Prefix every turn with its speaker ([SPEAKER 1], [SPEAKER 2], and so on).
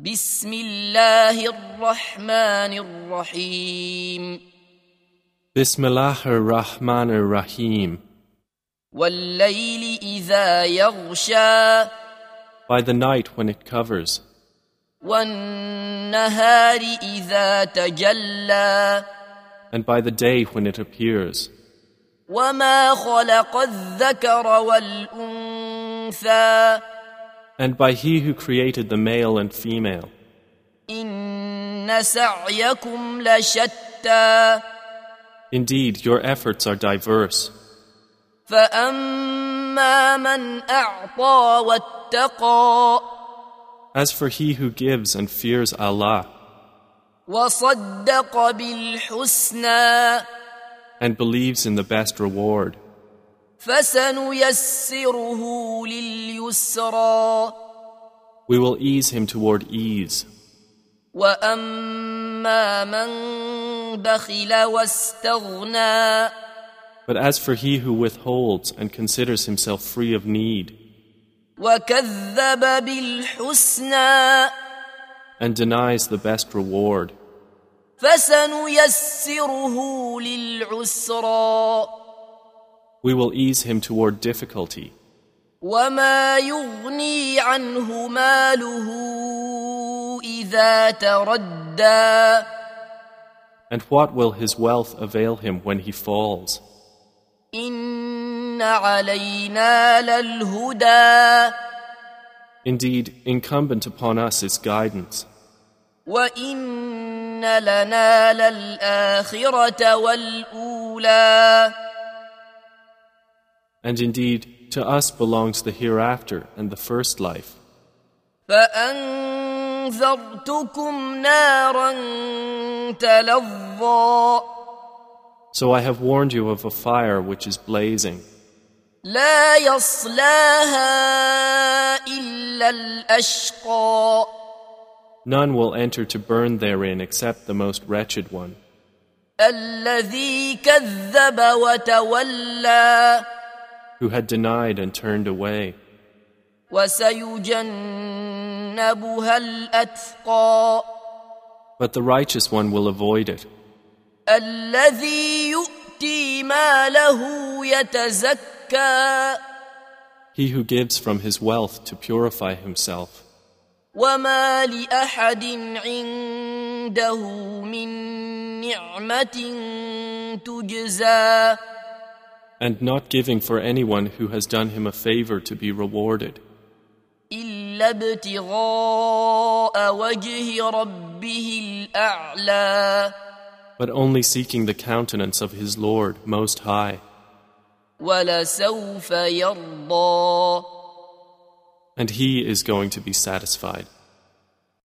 [SPEAKER 1] بسم الله الرحمن الرحيم
[SPEAKER 2] Bismillah ar-Rahman ar-Rahim.
[SPEAKER 1] والليل إذا يغشى
[SPEAKER 2] By the night when it covers,
[SPEAKER 1] والنهار إذا تجلى
[SPEAKER 2] and by the day when it appears,
[SPEAKER 1] وما خلق الذكر والأنثى
[SPEAKER 2] and by He who created the male and female.
[SPEAKER 1] إن سعيكم لشتى
[SPEAKER 2] Indeed, your efforts are diverse.
[SPEAKER 1] فأما من أعطى واتقى
[SPEAKER 2] As for he who gives and fears Allah,
[SPEAKER 1] وصدق بالحسنى
[SPEAKER 2] and believes in the best reward,
[SPEAKER 1] فسنيسره لليسرى
[SPEAKER 2] we will ease him toward ease.
[SPEAKER 1] واما من بخل واستغنى
[SPEAKER 2] But as for he who withholds and considers himself free of need,
[SPEAKER 1] وكذب بالحسنى
[SPEAKER 2] and denies the best reward,
[SPEAKER 1] فسنيسره للعسرى
[SPEAKER 2] we will ease him toward difficulty.
[SPEAKER 1] وما يغني عنه ماله اذا تردى
[SPEAKER 2] And what will his wealth avail him when he falls?
[SPEAKER 1] ان علينا للهدى
[SPEAKER 2] Indeed, incumbent upon us is guidance,
[SPEAKER 1] وان لنا للاخره والاولى
[SPEAKER 2] and indeed, to us belongs the hereafter and the first life.
[SPEAKER 1] فانذرتكم نارا تلظى
[SPEAKER 2] So I have warned you of a fire which is blazing,
[SPEAKER 1] لا يصلاها الا الاشقى
[SPEAKER 2] none will enter to burn therein except the most wretched one,
[SPEAKER 1] الذي كذب وتولى
[SPEAKER 2] who had denied and turned away,
[SPEAKER 1] وسيجنبها الاتقى
[SPEAKER 2] but the righteous one will avoid it.
[SPEAKER 1] الذي يؤتي ماله يتزكى
[SPEAKER 2] He who gives from his wealth to purify himself,
[SPEAKER 1] وما لاحد عنده من نعمه تجزى
[SPEAKER 2] and not giving for anyone who has done him a favor to be rewarded.
[SPEAKER 1] الا ابتغاء وجه ربه الاعلى
[SPEAKER 2] but only seeking the countenance of his Lord Most High.
[SPEAKER 1] ولسوف يرضى
[SPEAKER 2] And he is going to be satisfied.